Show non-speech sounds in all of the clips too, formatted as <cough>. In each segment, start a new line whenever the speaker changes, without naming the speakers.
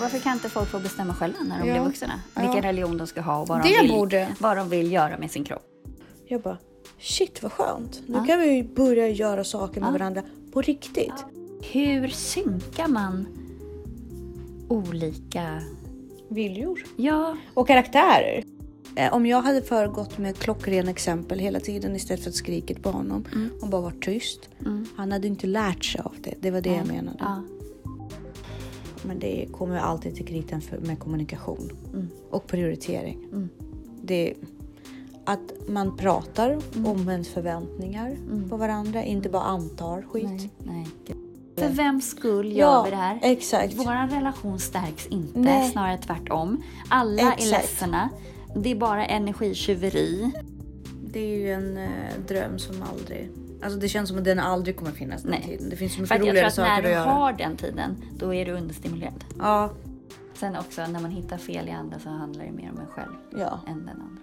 Varför kan inte folk få bestämma själva när de
Ja.
blir vuxna?
Ja.
Vilken religion de ska ha och vad
Det
de, vill,
borde-
vad de vill göra med sin kropp.
Jag bara, shit vad skönt. Nu
Ja.
kan vi ju börja göra saker med
Ja.
varandra på riktigt.
Hur synkar man olika...
Viljor.
Ja,
Och karaktärer. Eh, Om jag hade föregått med klockrena exempel hela tiden istället för att skrika på honom
Mm.
och bara varit tyst. Han hade inte lärt sig av det. Det var det jag menade.
ja.
Men det kommer alltid till kritan för, med kommunikation
Mm.
och prioritering. Det, att man pratar
Mm.
om ens förväntningar på varandra, inte bara antar skit.
Nej, nej. För vems skull gör
Ja,
vi det här?
exakt.
Vår relation stärks inte,
Nej.
snarare tvärtom. Alla är
Exakt.
ledsna. Det är bara energitjuveri.
Det är ju en eh, dröm som aldrig... Alltså det känns som att den aldrig kommer finnas den
Nej.
tiden. Det finns så
För
mycket
att jag tror
roligare
att
saker
när
att
du
göra.
har den tiden, då är du understimulerad.
Ja,
Sen också, när man hittar fel i andra så handlar det mer om en själv
ja.
än den andra.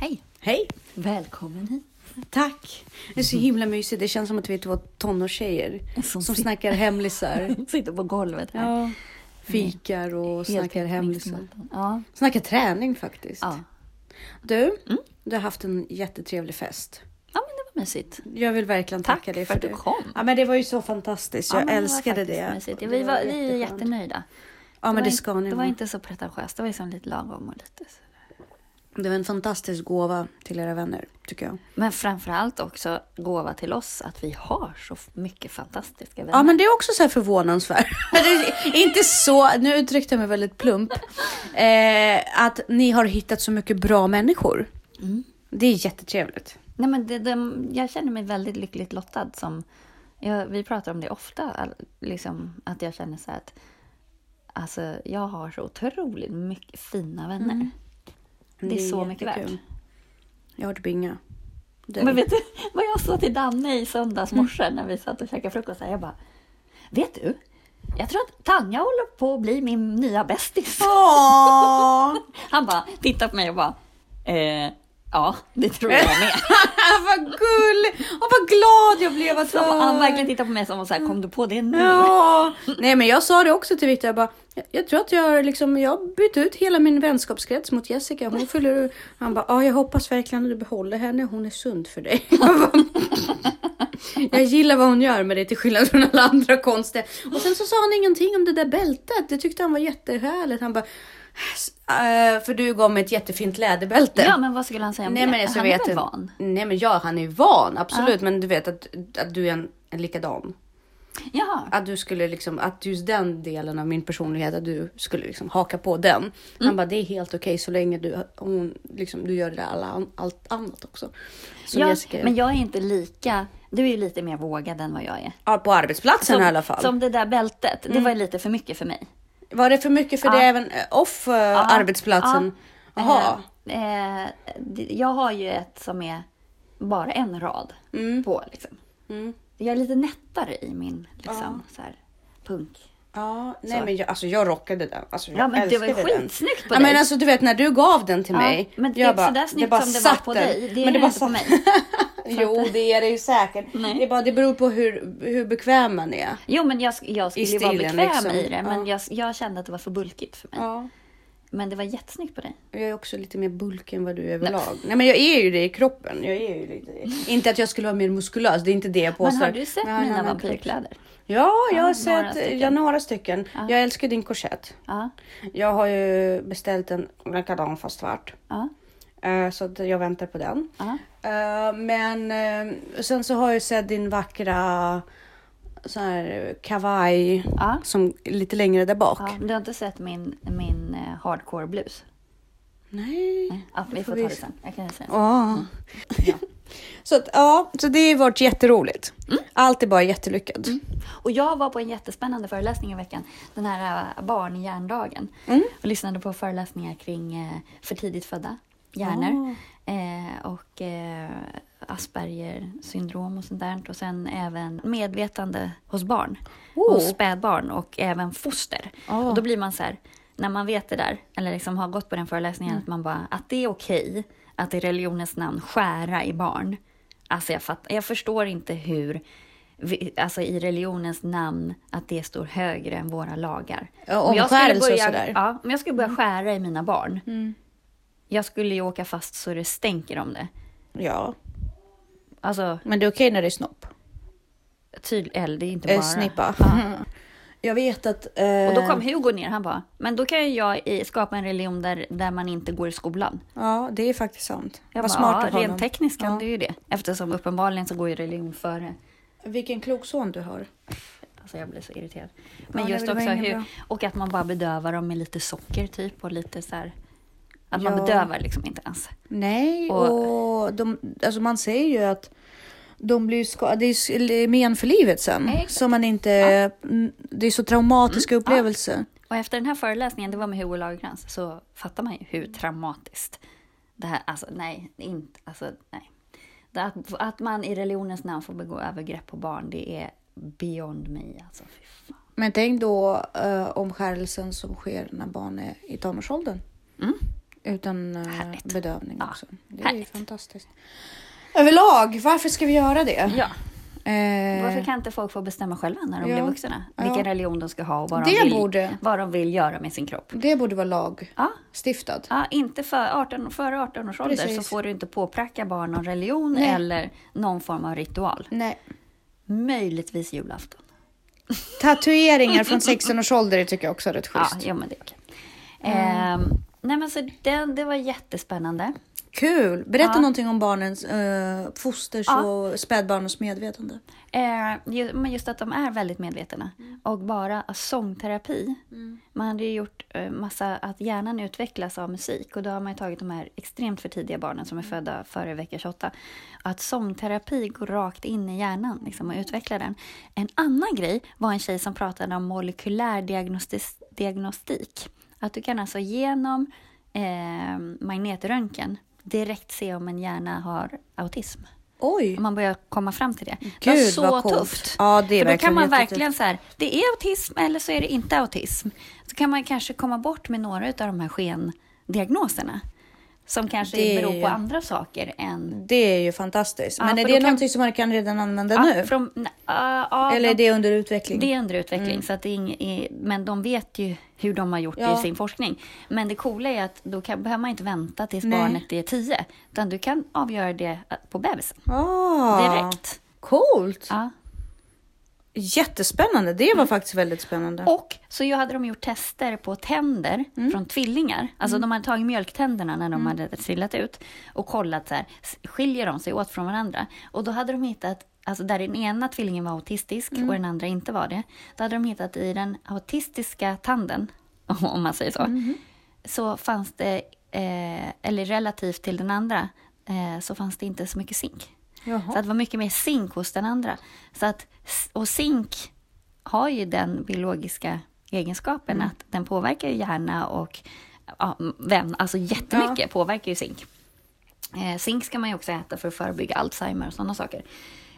Hej!
Hej!
Välkommen
<laughs>
hit.
Tack! Det är så himla mysigt. Det känns som att vi är två tonårstjejer
Som
som,
sit-
snackar hemlisar.
Sitter på golvet här.
<laughs> ja. Fikar och
Helt
snackar hemlisar.
mixmatan. Ja.
Snackar träning faktiskt.
Ja.
Du, du har haft en jättetrevlig fest.
ja, men det var mysigt.
Jag vill verkligen
Tack
tacka dig
för
för,
att du
det.
kom.
Ja, men det var ju så fantastiskt. Jag
ja, men
älskade
det. var
det.
faktiskt mysigt.
Det
Ja, vi, var, vi är
jätteskönt.
jättenöjda.
Ja, men
var
det
in-
ska ni
Det var
vara.
inte så pretentiöst. Det var liksom lite lagom och lite så.
Det var en fantastisk gåva till era vänner, tycker jag.
Men framförallt också gåva till oss att vi har så f- mycket fantastiska vänner.
Ja, men det är också så här förvånansvärt. <laughs> Det är inte så, nu uttryckte jag mig väldigt plump, eh, att ni har hittat så mycket bra människor.
Mm.
Det är jättetrevligt.
Nej, men det, det, jag känner mig väldigt lyckligt lottad. Som, jag, vi pratar om det ofta, all- liksom, att jag känner så här att alltså, jag har så otroligt mycket fina vänner. Det är så mycket värt.
Mm. jättekul. Jag har typ inga. Det- Mm.
Men vet du vad jag sa till Danne i söndags morse när vi satt och käkade frukost? Här, jag bara, vet du? Jag tror att Tanja håller på att bli min nya bästis.
Åh,
Han bara tittar på mig och bara, eh, ja, det tror jag
<laughs>
med.
<laughs> vad gull! Och vad glad jag blev att
Som, han
höra.
verkligen tittar på mig som om så här, kom du på det nu?
Ja. Nej men jag sa det också till Viktor, jag bara, jag, jag tror att jag liksom, jag har bytt ut hela min vänskapskrets mot Jessica. Hon fyller Han bara, ja jag hoppas verkligen att du behåller henne, hon är sund för dig. <laughs> Jag bara, jag gillar vad hon gör med det till skillnad från alla andra konster. Och sen så sa han ingenting om det där bältet, det tyckte han var jättehärligt. Han bara, "S- eh, för du gav mig ett jättefint läderbälte.
Ja, men vad skulle han säga om
Nej
det?
men jag så
han
vet
är väl
jag-
van?
Nej men ja, han är van, absolut. Men du vet att, att du är en, en likadan.
Jaha.
Att du skulle liksom, att just den delen av min personlighet, att du skulle liksom haka på den.
Mm.
Han bara, det är helt okej så länge du, hon, liksom, du gör det där alla, allt annat också. Som
Jag,
Jessica gör.
men jag är inte lika... Du är ju lite mer vågad än vad jag är.
ja, på arbetsplatsen i alla fall. Mm.
som det där bältet, det var ju lite för mycket för mig.
Var det för mycket för
Ja.
det även eh, off eh, arbetsplatsen?
Ja.
Jaha.
Eh, eh, det- jag har ju ett som är bara en rad
Mm.
på. Liksom. Jag är lite nättare i min liksom, så här, punk.
Ja, nej men jag, alltså jag rockade den. Alltså, jag
Ja, men det var ju
älskade den.
skitsnyggt på
ja,
dig.
men alltså du vet när du gav den till
Ja,
mig.
men det är
jag
inte sådär snyggt som det var
satt
på
den.
dig. Det är
Men
det
bara
inte på
satt-
mig.
jo det är det ju säkert.
Nej.
Det, är bara, det beror på hur, hur bekväm man är.
Jo, men jag, sk- jag skulle ju vara
stilen,
bekväm
liksom.
i det, men
Ja.
jag, jag kände att det var för bulkigt för mig.
Ja.
Men det var jättesnyggt på dig.
Jag är också lite mer bulkig än vad du är överlag. Nej. men jag är ju det i kroppen. Jag är ju lite det. Inte att jag skulle vara mer muskulös, det är inte det jag påstår.
Mm. Men har du sett
Nej,
mina
nej, men-
vampyrkläder?
typ. Ja, jag har
några
sett några
stycken.
stycken. Ja, några stycken. Jag älskar din korsett.
Ja,
Jag har ju beställt en likadan fast svart.
ja,
Eh, Så att jag väntar på den.
ja.
Eh, Men eh, sen så har jag sett din vackra så här, kavaj
Ja.
som är lite längre där bak.
ja. Du har inte sett min, min eh, hardcore-blus?
Nej.
Ja, vi
får
får ta det
vi-
sen. Jag kan ju säga.
Ja. Så, att, ja, så det har varit jätteroligt.
Mm.
Allt är bara jättelyckat.
Och jag var på en jättespännande föreläsning i veckan, den här eh, barnhjärndagen. Och lyssnade på föreläsningar kring eh, för tidigt födda hjärnor. Eh, och eh, Asperger syndrom och sånt där. Och sen även medvetande hos barn.
Oh.
Hos spädbarn och även foster. Och då blir man så här, när man vet det där, eller liksom har gått på den föreläsningen, att man bara, att det är okej att i religionens namn skära i barn. Alltså jag, fatt, jag förstår inte hur vi, alltså i religionens namn att det står högre än våra lagar.
Ja,
Om jag skulle
omskärelse och
börja-
sådär. Mm.
Ja, om jag skulle börja skära i mina barn. Jag skulle ju åka fast så det stänker om det.
Ja,
Alltså,
men det är okej när det är snopp.
tydl, eller det är inte bara...
Eh, snippa. <laughs> Jag vet att... eh,
Och då kom Hugo ner, han bara, men då kan ju jag i, skapa en religion där, där man inte går i skolan.
Ja, det är faktiskt sant.
Jag
Vad
bara,
smart
ja,
av honom.
rent tekniskt kan
Ja.
du ju det. Eftersom uppenbarligen så går ju religion före.
Vilken klok son du har.
Alltså jag blir så irriterad.
Ja,
Men
det
just
var
också
inget
hur,
bra.
och att man bara bedövar dem med lite socker typ och lite så här. Att man
Ja.
bedövar liksom inte ens.
Nej, och,
Och-
de, alltså man säger ju att de blir ju ska, det är ju s- eller men för livet sen.
Exakt. Mm.
Som man inte, mm, det är så traumatiska upplevelser.
Och efter den här föreläsningen, det var med Hugo Lagercrantz, så fattar man ju hur traumatiskt det här, alltså nej, inte, alltså nej. Det Att, att man i religionens namn får begå övergrepp på barn, det är beyond me alltså. Fy fan.
Men tänk då eh, omskärelsen som sker när barn är i tonårsåldern.
Mm.
Utan eh,
Härligt.
bedövning
Ja,
också. Det är ju
härligt.
fantastiskt. Överlag, varför ska vi göra det?
Ja,
Eh,
varför kan inte folk få bestämma själva när de
Ja.
blir vuxna?
Ja.
Vilken religion de ska ha och vad
Det
de, vill,
borde-
vad de vill göra med sin kropp.
Det borde vara lagstiftad.
Ja, Ja, inte för 18, före 18 års ålder
Precis.
så får du inte påpracka barn någon religion
Nej.
eller någon form av ritual.
Nej.
Möjligtvis julafton.
Tatueringar från 16 års ålder det tycker jag också är rätt
Ja,
schysst.
ja men det är okej. Ehm, nej men så den, det var jättespännande.
Kul! Berätta
Ja.
någonting om barnens eh, fosters
Ja.
och spädbarnens medvetande.
Eh, ju, men just att de är väldigt medvetna. Och bara alltså, sångterapi. Man hade ju gjort eh, massa att hjärnan utvecklas av musik och då har man ju tagit de här extremt för tidiga barnen som är födda före vecka 28. Att sångterapi går rakt in i hjärnan liksom, och utvecklar den. En annan grej var en tjej som pratade om molekylär diagnostis- diagnostik. Att du kan alltså genom eh, magnetröntgen direkt se om en hjärna har autism.
Oj!
Och man börjar komma fram till det. det var
Gud,
så
vad coolt.
tufft.
Ja, det är
För då
verkligen
kan man
jättetufft.
verkligen så här, det är autism eller så är det inte autism. Så kan man kanske komma bort med några av de här skendiagnoserna. Som kanske
Det är
beror
ju-
på andra saker än...
Det är ju fantastiskt.
Ja,
Men är
för
det
då kan-
någonting som man kan redan använda
Ja,
nu?
från, nej, ja, ja,
Eller är
de,
det under utveckling?
det är under utveckling, så att det är ing, är, men de vet ju hur de har gjort
Ja.
i sin forskning. Men det coola är att då kan, behöver man inte vänta tills
Nej.
barnet är tio, utan du kan avgöra det eh, på bebisen
Ah,
direkt.
Coolt!
Ja.
Jättespännande. Det var faktiskt väldigt spännande.
Och så ju hade de gjort tester på tänder från tvillingar. Alltså de hade tagit mjölktänderna när de hade trillat ut och kollat så här, s- skiljer de sig åt från varandra? Och då hade de hittat, alltså där den ena tvillingen var autistisk och den andra inte var det. Då hade de hittat i den autistiska tanden, <laughs> om man säger så, så fanns det, eh, eller relativt till den andra, eh, så fanns det inte så mycket zink. Så
Jaha.
att det var mycket mer zink hos den andra. Så att, och zink har ju den biologiska egenskapen att den påverkar ju hjärna och ja, vem, alltså jättemycket påverkar ju zink. Eh, zink ska man ju också äta för att förebygga Alzheimer och sådana saker.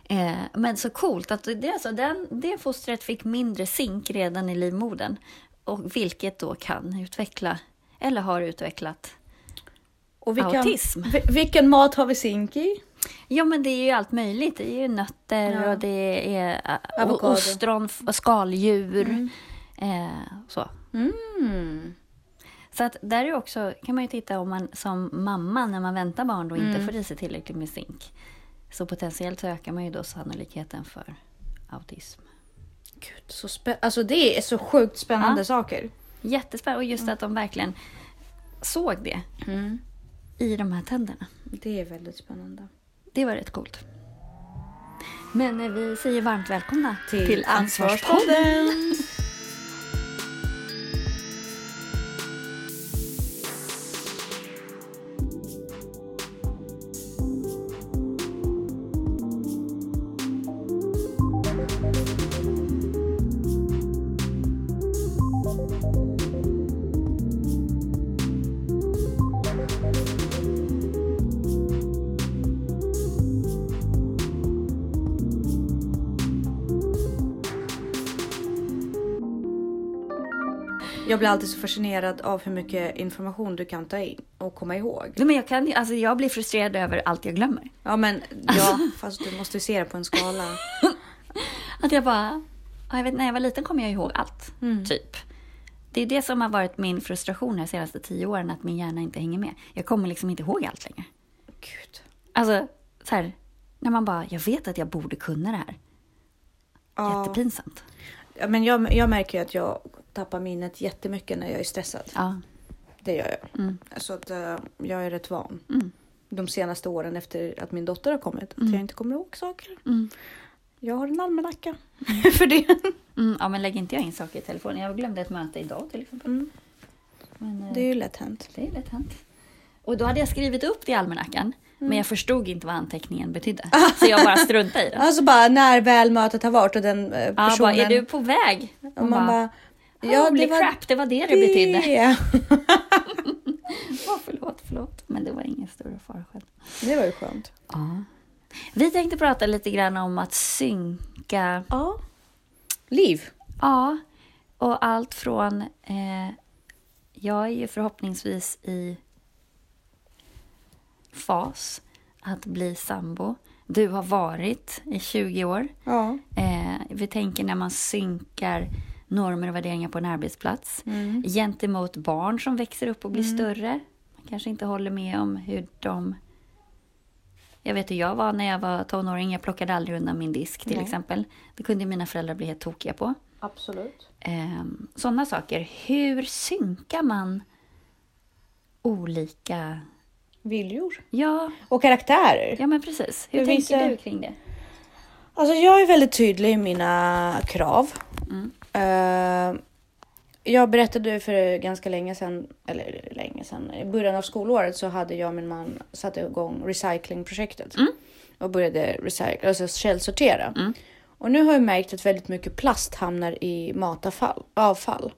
Eh, men så coolt att det, är alltså den, det fostret fick mindre zink redan i livmodern. Och vilket då kan utveckla, eller har utvecklat,
Och vilken,
Autism.
vi- vilken mat har vi zink i?
Ja men det är ju allt möjligt. Det är ju nötter
Ja.
och det är ä,
Avokado.
ostron f- och skaldjur. Eh, så. Mm. Så att där är också, kan man ju titta om man som mamma när man väntar barn då inte får i sig tillräckligt med zink. Så potentiellt så ökar man ju då sannolikheten för autism.
Gud, så spä... Alltså det är så sjukt spännande
Ja.
saker.
Jättespännande och just att de verkligen såg det i de här tänderna.
Det är väldigt spännande.
Det var rätt coolt. Men eh, vi säger varmt välkomna till, till Ansvarspodden.
Ansvarspodden! Jag blir alltid så fascinerad av hur mycket information du kan ta in och komma ihåg.
Nej, men jag, kan, ju- alltså, jag blir frustrerad över allt jag glömmer.
Ja men ja, fast du måste se det på en skala.
Att jag bara, ja, jag vet, när jag var liten kom jag ihåg allt,
Mm.
typ. Det är det som har varit min frustration de senaste tio åren, att min hjärna inte hänger med. Jag kommer liksom inte ihåg allt längre.
Gud.
Alltså, så här, när man bara, jag vet att jag borde kunna det här.
Ja.
Jättepinsamt.
Ja, men jag, jag märker ju att jag tappar minnet jättemycket när jag är stressad.
Ja.
Det gör jag. Så att, eh, jag är rätt van.
Mm.
De senaste åren efter att min dotter har kommit. Att jag inte kommer ihåg saker.
Mm.
Jag har en almanacka <laughs> för det.
Mm, ja, men lägger inte jag in saker i telefonen? Jag glömde ett möte idag till exempel.
Mm.
Men, eh,
Det är ju lätt hänt.
Det är lätt hänt. Och då hade jag skrivit upp det i almanackan,
Mm.
men jag förstod inte vad anteckningen
<laughs>
betydde. Så jag bara struntade i det.
Alltså bara när väl mötet har varit och den eh,
Ja,
personen.
Ah, bara, är du "Ah, på väg?
och man bara,
Holy crap, det var det det betydde. <laughs>
det.
Oh, förlåt, förlåt. Men det var ingen större fara själv.
<laughs> Det var ju skönt.
Ja. Vi tänkte prata lite grann om att synka.
Ja. Liv.
Ja, och allt från... Eh, jag är ju förhoppningsvis i fas att bli sambo. Du har varit i 20 år.
Ja.
Eh, vi tänker när man synkar normer och värderingar på en arbetsplats
Mm.
gentemot barn som växer upp och blir större. Man kanske inte håller med om hur de... Jag vet hur jag var när jag var tonåring. Jag plockade aldrig undan min disk till
Nej.
exempel. Det kunde ju mina föräldrar bli helt tokiga på.
Absolut.
Ehm, Sådana saker. Hur synkar man olika...
Viljor.
Ja,
Och karaktärer.
ja men precis. Hur
Hur
tänker
visar-
du kring det?
Alltså jag är väldigt tydlig i mina krav. Eh, jag berättade ju för ganska länge sedan, eller länge sedan, i början av skolåret så hade jag och min man satt igång recyclingprojektet. Och började recycla, alltså källsortera. Och nu har jag märkt att väldigt mycket plast hamnar i matavfall. Avfall.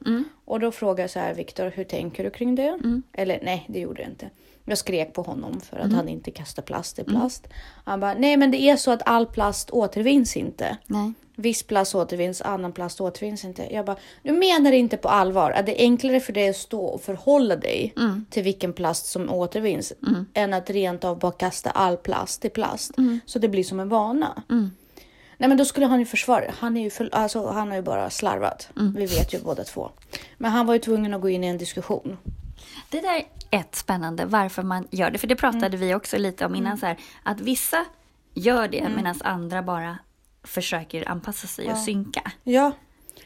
Och då frågar jag så här, Viktor, hur tänker du kring det? Eller nej, det gjorde jag inte. Jag skrek på honom för att han inte kastar plast i plast. Han bara, nej men det är så att all plast återvinns inte.
Nej.
Viss plast återvinns, annan plast återvinns inte. Jag bara, du menar inte på allvar att det är enklare för dig att stå och förhålla dig till vilken plast som återvinns än att rent av bara kasta all plast i plast. Så det blir som en vana. Nej men då skulle han ju försvara det. han, är ju för, alltså, han har ju bara slarvat. Vi vet ju båda två. Men han var ju tvungen att gå in i en diskussion.
Det där är ett spännande, varför man gör det. För det pratade
Mm.
vi också lite om innan. Så här, att vissa gör det medan andra bara försöker anpassa sig och synka.
Mm. Ja,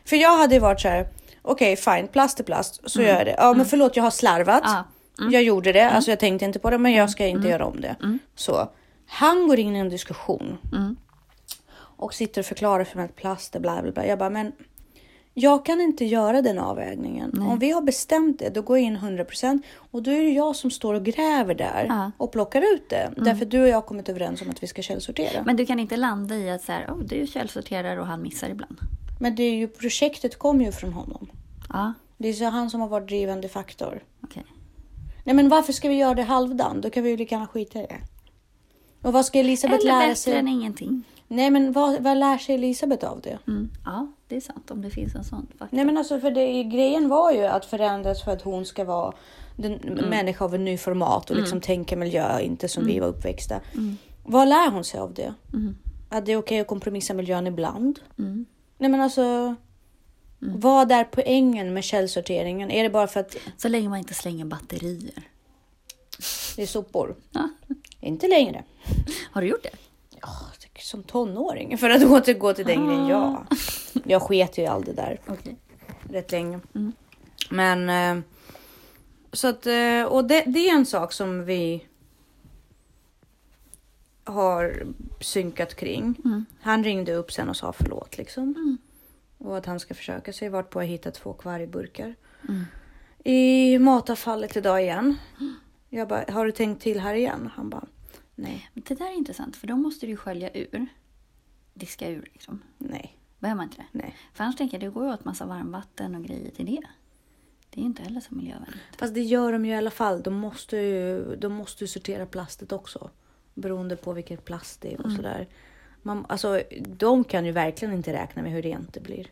för jag hade ju varit så här. Okej, fine, plast är plast, så gör jag det. Ja, men förlåt, jag har slarvat.
Ja.
Jag gjorde det, alltså jag tänkte inte på det, men jag ska inte göra om det. Så han går in i en diskussion och sitter och förklarar för mig att plast är bla bla bla. Jag bara, men jag kan inte göra den avvägningen. Om vi har bestämt det, då går jag in 100% och då är det jag som står och gräver där
Ja.
och plockar ut det. Därför du och jag har kommit överens om att vi ska källsortera. Men,
Men du kan inte landa i att så här, oh, du källsorterar och han missar ibland.
det är ju, projektet kom ju från honom.
Ja,
Det är så han som har varit drivande faktor.
okej.
Nej men varför ska vi göra det halvdan? Då kan vi ju lika gärna skita i det. Och vad ska Elisabeth
Eller
lära
bättre
sig?
än ingenting.
Nej men vad, vad lär sig Elisabeth av det?
Mm. Ja, det är sant om det finns en sån. faktor.
Nej men alltså för det, grejen var ju att förändras för att hon ska vara den
Mm.
människa av en ny format och liksom tänka miljö, inte som vi var uppväxta.
Mm.
Vad lär hon sig av det? Att det är okej att kompromissa miljön ibland?
Mm.
Nej men alltså, vad är poängen med källsorteringen? Är det bara för att
Så länge man inte slänger batterier.
det är sopor?
Ja.
Inte längre.
Har du gjort det?
Ja, det- som tonåring. För att <laughs> återgå till den grejen, ja. Jag sket ju i allt det där
Okej.
rätt länge. Men... eh, Så att, eh, och det, det är en sak som vi har synkat kring.
Mm.
Han ringde upp sen och sa förlåt liksom. Och att han ska försöka sig, vart på jag hittat två kvargburkar. I matavfallet idag igen. Jag bara, har du tänkt till här igen? Han bara, nej,
Men Det där är intressant, för då måste du ju skölja ur. Diska ur liksom.
nej,
Behöver man inte det?
nej.
För annars tänker jag, det går ju åt massa varmvatten och grejer till det. Det är ju inte heller så miljövänligt.
Fast det gör de ju i alla fall. De måste ju, de måste ju sortera plastet också. Beroende på vilket plast det är
Mm.
och sådär. Man, alltså, de kan ju verkligen inte räkna med hur rent det blir.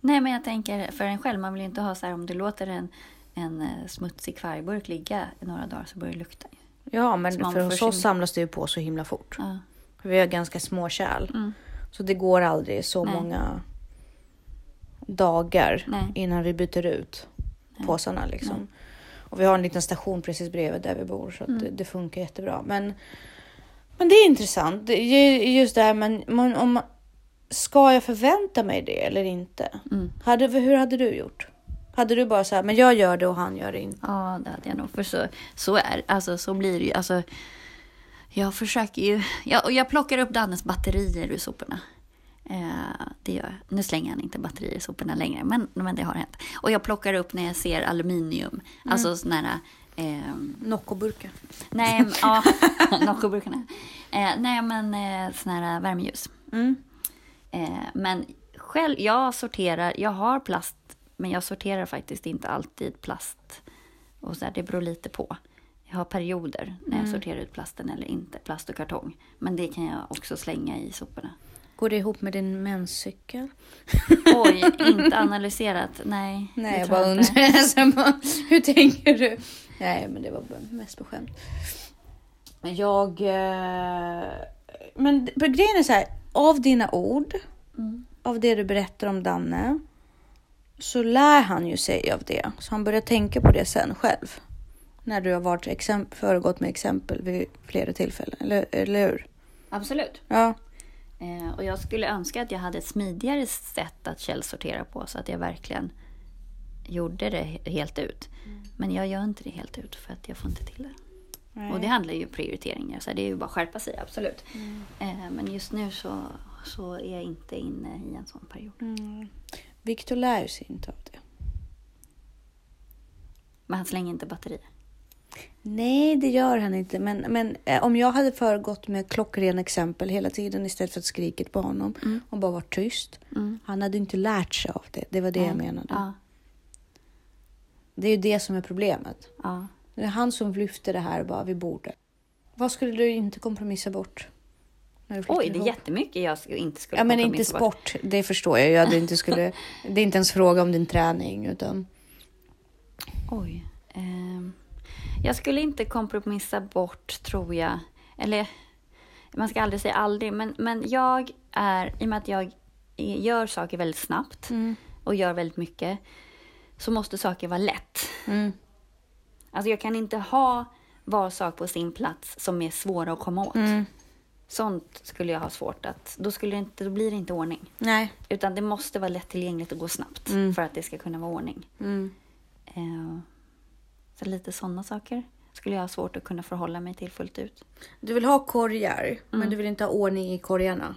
Nej, men jag tänker för en själv, man vill ju inte ha så här om du låter en, en eh, smutsig kvargburk ligga i några dagar så börjar det lukta. ju.
Ja, men
Så man
för
får
hos
sin-
oss samlas det ju på så himla fort.
Ja.
Vi har ganska små kärl. Så det går aldrig så
Nej.
många dagar
Nej.
innan vi byter ut
Nej.
påsarna. Liksom.
Nej.
Och vi har en liten station precis bredvid där vi bor så att det, det funkar jättebra. Men, men det är intressant. Det är ju- Just det här men, men om, man- ska jag förvänta mig det eller inte?
Mm.
Hade, hur hade du gjort? Hade du bara så här, men jag gör det och han gör det inte?
Ja, det hade jag nog. För så, så, är, alltså, så blir det ju. Alltså, jag försöker ju... Jag, och jag plockar upp Dannes batterier ur soporna. Eh, det gör jag. Nu slänger han inte batterier i soporna längre, men, men det har hänt. Och jag plockar upp när jag ser aluminium. Alltså sådana här... ehm,
Noccoburkar.
nej, men- ja,
<laughs>
Noccoburkarna. Eh, nej, men eh, sådana här värmeljus.
Mm.
Eh, men själv, jag sorterar, jag har plast, men jag sorterar faktiskt inte alltid plast. Och så här, det beror lite på. Jag har perioder när
Mm.
jag sorterar ut plasten eller inte, plast och kartong. Men det kan jag också slänga i
<laughs>
soporna.
Går det ihop med din menscykel?
Oj, inte analyserat. Nej, det
Nej, jag
tror
bara
inte.
undrar. <laughs> Sen bara, hur tänker du? Nej, men det var bara mest på skämt. Men Jag... eh, Men för grejen är så här, av dina ord,
Mm.
av det du berättar om Danne, så lär han ju sig av det. Så han börjar tänka på det sen själv. När du har varit exempel, föregått med exempel vid flera tillfällen, eller, eller hur?
Absolut.
Ja.
Eh, och jag skulle önska att jag hade ett smidigare sätt att källsortera på så att jag verkligen gjorde det he- helt ut. Men jag gör inte det helt ut för att jag får inte till det. Och det handlar ju om prioriteringar, så det är ju bara att skärpa sig, absolut. Eh, men just nu så, så är jag inte inne i en sån period.
Mm. Victor lär ju sig inte av det.
Men han slänger inte batterier.
Nej, det gör han inte. Men, men eh, om jag hade föregått med klockrena exempel hela tiden istället för att skrika på honom och bara varit tyst.
Mm.
Han hade ju inte lärt sig av det. Det var det jag menade.
Ja,
Det är ju det som är problemet.
ja.
Det är han som lyfter det här och bara, vi borde. Vad skulle du inte kompromissa bort? När du flyttar
Oj, det är
ihop?
jättemycket jag sk- inte skulle
Ja, men inte
kompromissa bort.
sport. Det förstår jag ju. att du inte <laughs> skulle, det är inte ens fråga om din träning. Utan,
Oj. ehm, jag skulle inte kompromissa bort, tror jag. Eller, man ska aldrig säga aldrig, men, men jag är, i och med att jag eh, gör saker väldigt snabbt och gör väldigt mycket, så måste saker vara lätt.
mm.
Alltså jag kan inte ha var sak på sin plats som är svåra att komma åt. Sånt skulle jag ha svårt att... Då, skulle det inte, då blir det inte ordning.
Nej.
Utan det måste vara lättillgängligt och gå snabbt för att det ska kunna vara ordning.
Mm.
Eh, så lite sådana saker skulle jag ha svårt att kunna förhålla mig till fullt ut.
Du vill ha korgar, men du vill inte ha ordning i korgarna.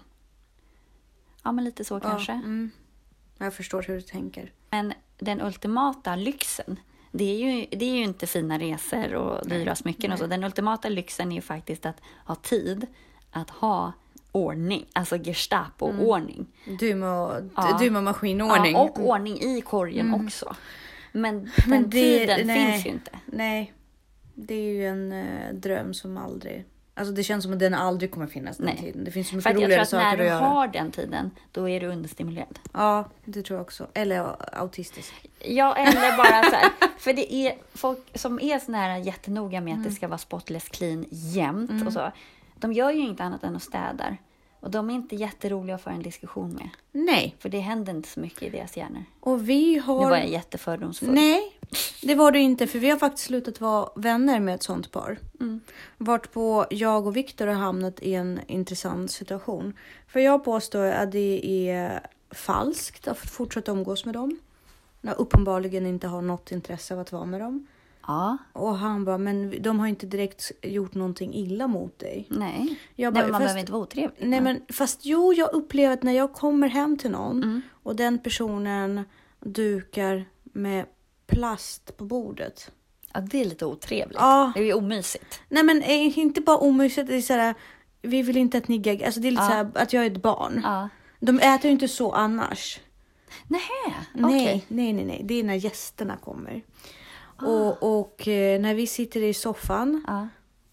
Ja, men lite så kanske.
Ja, mm. Jag förstår hur du tänker.
Men den ultimata lyxen, det är ju, det är ju inte fina resor och dyra smycken och så. Den ultimata lyxen är ju faktiskt att ha tid att ha ordning, alltså
Mm.
Gestapo-ordning.
Du med,
Ja.
du med maskinordning.
Ja, och ordning i korgen också. Men den
mm. Men det-
tiden
nej.
finns ju inte.
Nej, det är ju en eh, dröm som aldrig... Alltså det känns som att den aldrig kommer finnas den
Nej.
tiden. Det finns så
För
mycket
att jag tror
roligare
att när
saker
du
att göra.
har den tiden, då är du understimulerad.
Ja, det tror jag också. Eller ja, autistisk.
Ja, eller bara så här.
<laughs>
För det är folk som är sån här jättenoga med att
Mm.
det ska vara spotless clean jämt och så. De gör ju inte annat än att städar. Och de är inte jätteroliga att föra en diskussion med.
Nej,
För det händer inte så mycket i deras hjärnor.
och vi
Nu
har...
var jag jättefördomsfull.
Nej, det var du inte. För vi har faktiskt slutat vara vänner med ett sånt par. Mm. Vartpå jag och Viktor har hamnat i en intressant situation. För jag påstår att det är falskt att fortsätta umgås med dem. När jag uppenbarligen inte har något intresse av att vara med dem.
Ja,
Och han bara, men de har inte direkt gjort någonting illa mot dig.
nej.
Jag
nej
bara,
men man
fast-
behöver inte vara otrevlig.
Nej, men fast jo, jag upplever att när jag kommer hem till någon
Mm.
och den personen dukar med plast på bordet.
Ja, det är lite otrevligt.
Ja.
Det är ju omysigt.
Nej men eh, inte bara omysigt, det är såhär, vi vill inte att ni geggar. Alltså det är lite
Ja.
såhär att jag är ett barn.
Ja.
De äter ju inte så annars.
Nähä, okej. Ah.
Nej, nej, nej, nej. Det är när gästerna kommer. Och, och eh, när vi sitter i soffan
Ja.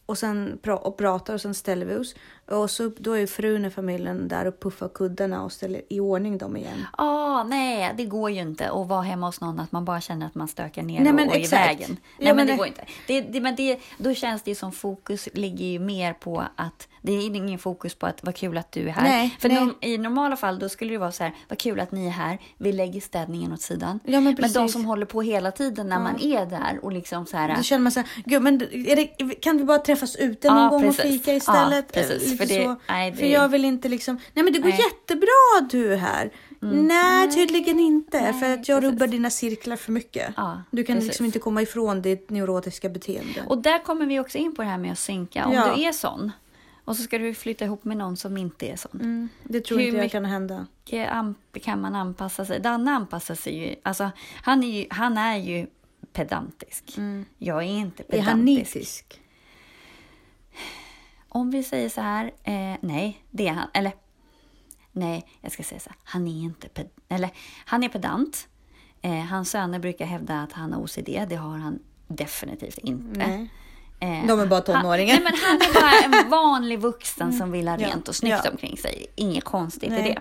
och sen pra- och pratar och sen ställer vi oss. Och så, då är ju frun i familjen där och puffar kuddarna och ställer i ordning dem igen.
Ah, nej, det går ju inte att vara hemma hos någon att man bara känner att man stökar ner
Nej, men
och är i
exakt.
vägen. Nej,
Ja,
men,
men
det,
det-
går inte. Det, det, men det, då känns det ju som fokus ligger ju mer på att det är ingen fokus på att vad kul att du är här.
Nej,
För
nej.
norm- i normala fall då skulle det vara så här, vad kul att ni är här, vi lägger städningen åt sidan.
Ja, men
men de
precis.
som håller på hela tiden när man är där och liksom så här.
Då känner man så här, gud, men är det, kan vi bara träffas ute någon
Ja,
gång och
precis.
fika
Ja,
istället?
precis. För
Eller
det-
så.
nej, det-
För jag vill inte liksom, nej men det går
Nej. Mm.
jättebra att du är här. Nej, tydligen inte.
Nej,
för att jag
precis.
rubbar dina cirklar för mycket.
Ja,
du kan
precis.
liksom inte komma ifrån ditt neurotiska beteende.
Och där kommer vi också in på det här med att synka. Om
Ja.
du är sån och så ska du flytta ihop med någon som inte är sån.
mm, det tror
hur
inte jag
mycket-
kan hända.
mycket amp- eh, kan man anpassa sig? Danne anpassar sig ju. Alltså, han, är ju han är ju pedantisk. Jag är inte
Mm. Är
pedantisk.
han nitisk?
Om vi säger så här, eh, nej, det är han. Eller, nej, jag ska säga så här, han är inte ped- eller, han är pedant. Eh, hans söner brukar hävda att han har OCD, det har han definitivt inte.
Nej.
Eh,
De är bara
han-
tonåringar.
Nej, men han är bara
<laughs>
en vanlig vuxen som vill ha
Ja.
rent och snyggt
Ja.
omkring sig. Inget konstigt i
Nej.
det.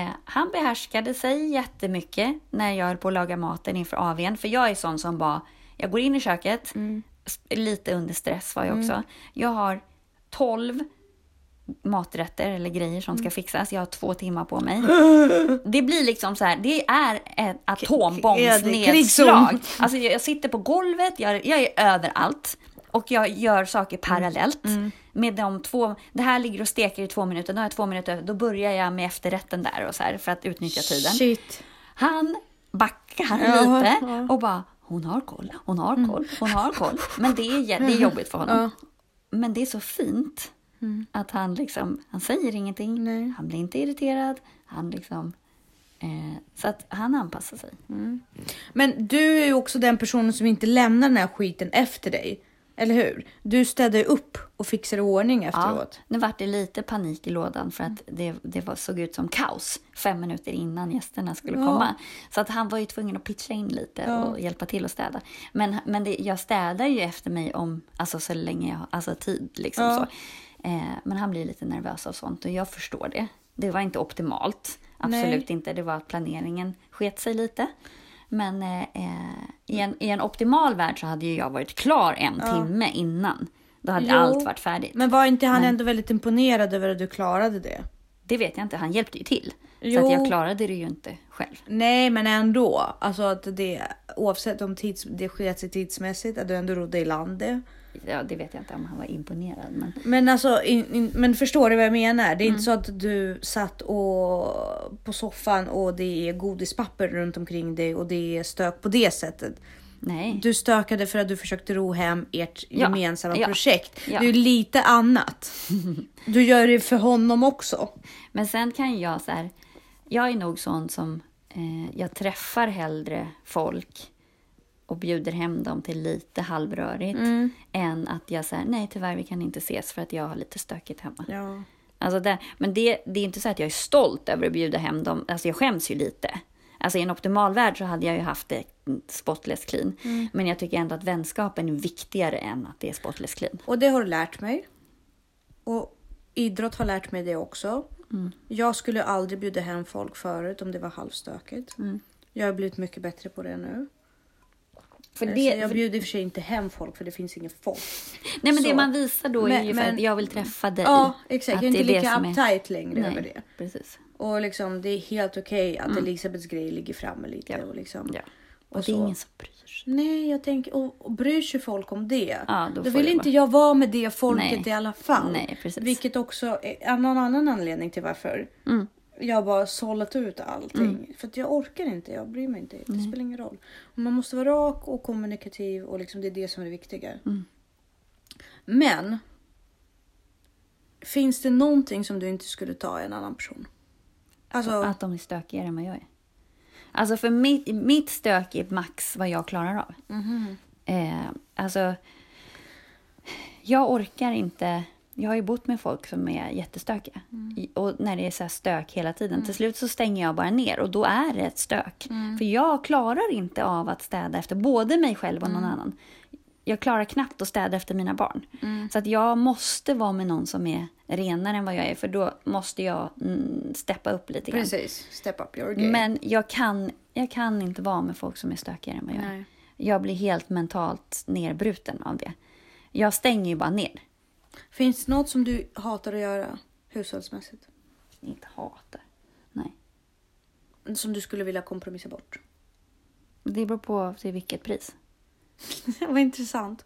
Eh, han behärskade sig jättemycket när jag höll på att laga maten inför AWn. För jag är sån som bara, jag går in i köket,
Mm.
s- lite under stress var jag också. Jag har 12 maträtter eller grejer som
Mm.
ska fixas. Jag har två timmar på
<gasps>
mig. Det blir liksom så här, det är ett atombombsnedslag.
krigszon.
Alltså jag, jag sitter på golvet, jag, jag är överallt och jag gör saker
Mm.
parallellt. Med de två, det här ligger och steker i två minuter, då har jag två minuter över, då börjar jag med efterrätten där och så här för att utnyttja tiden.
Shit.
Han backar
Ja,
lite
ja. Mm.
och bara, hon har koll, hon har koll, hon har koll. Men det är, jä- det är jobbigt för honom. Men det är så fint att han liksom, han säger ingenting,
Mm. Nej.
han blir inte irriterad, han liksom, eh, så att han anpassar sig.
Men du är ju också den personen som inte lämnar den här skiten efter dig. Eller hur? Du städar ju upp och fixar i ordning
Ja,
efteråt.
nu vart det lite panik i lådan för att det, det var, såg ut som kaos fem minuter innan gästerna skulle
Ja.
komma. Så att han var ju tvungen att pitcha in lite
Ja.
och hjälpa till att städa. Men, men det, jag städar ju efter mig om, alltså så länge jag har alltså tid. Liksom
Ja.
så. Eh, men han blir lite nervös av sånt och jag förstår det. Det var inte optimalt, absolut inte. Det var att planeringen sket sig lite. Men eh, eh, i, en, i en optimal värld så hade ju jag varit klar en timme innan. Då hade
Jo.
allt varit färdigt.
Men var inte han ändå väldigt imponerad över att du klarade det?
Det vet jag inte, han hjälpte ju till. Så
Jo.
att jag klarade det ju inte själv.
Nej, men ändå. Alltså att det, oavsett om tids, det sker sig tidsmässigt, att du ändå rodde i land det.
Ja, det vet jag inte om han var imponerad. Men...
Men alltså, in, in, men förstår du vad jag menar? Det är inte så att du satt och, på soffan och det är godispapper runt omkring dig och det är stök på det sättet.
Nej.
Du stökade för att du försökte ro hem ert
Ja,
gemensamma
ja,
projekt.
ja.
Det är ju lite <laughs> annat. Du gör det för honom också.
Men sen kan jag så här, jag är nog sån som, eh, jag träffar hellre folk och bjuder hem dem till lite halvrörigt än att jag säger nej tyvärr vi kan inte ses för att jag har lite stökigt hemma.
Ja.
Alltså det, men det, det är inte så att jag är stolt över att bjuda hem dem. Alltså jag skäms ju lite. Alltså i en optimal värld så hade jag ju haft det spotless clean.
Mm.
Men jag tycker ändå att vänskapen är viktigare än att det är spotless clean.
Och det har du lärt mig. Och idrott har lärt mig det också.
Mm.
Jag skulle aldrig bjuda hem folk förut om det var halvstökigt.
Mm.
Jag har blivit mycket bättre på det nu. Eh,
För
Så
det,
jag
för,
bjuder i och för sig inte hem folk för det finns ingen folk.
nej men det
så.
man visar då är
Men-
ju för
men-
att jag vill träffa dig.
Ja, exakt.
Att
Jag är inte
det
lika
som är-
uptight längre över
Nej,
det.
precis.
Och liksom, det är helt okej att Elisabeths grej ligger framme lite.
Ja.
Och liksom,
Ja. Och,
Och
det är
så.
ingen som bryr sig.
Nej, jag tänker, och, och bryr sig folk om det?
Ja, då
då
får
vill
det
inte
vara.
jag vara med det folket
Nej.
i alla fall.
Nej, precis.
Vilket också är en annan, annan anledning till varför
Mm.
jag har bara sållat ut allting. För att jag orkar inte, jag bryr mig inte. Det spelar ingen roll. Och man måste vara rak och kommunikativ och liksom det är det som är det viktiga.
Mm.
Men. Finns det någonting som du inte skulle ta i en annan person? Alltså,
Att de är stökigare än vad jag är. Alltså för mitt, mitt stök är max vad jag klarar av.
Mm-hmm.
Eh, alltså, jag orkar inte. Jag har ju bott med folk som är jättestökiga.
Mm.
I- Och när det är så här stök hela tiden. Till slut så stänger jag bara ner och då är det
Mm. Mm.
ett stök. För jag klarar inte av att städa efter både mig själv och någon annan. jag klarar knappt att städa efter mina barn.
Mm.
Så att jag måste vara med någon som är renare än vad jag är för då måste jag mm, steppa upp lite grann.
Precis, step up your game.
Men jag kan, jag kan inte vara med folk som är stökigare än vad jag är.
Nej.
Jag blir helt mentalt nerbruten av det. Jag stänger ju bara ner.
Finns det något som du hatar att göra hushållsmässigt?
Inte hatar. Nej.
Som du skulle vilja kompromissa bort?
Det beror på till vilket pris.
<laughs> Vad intressant.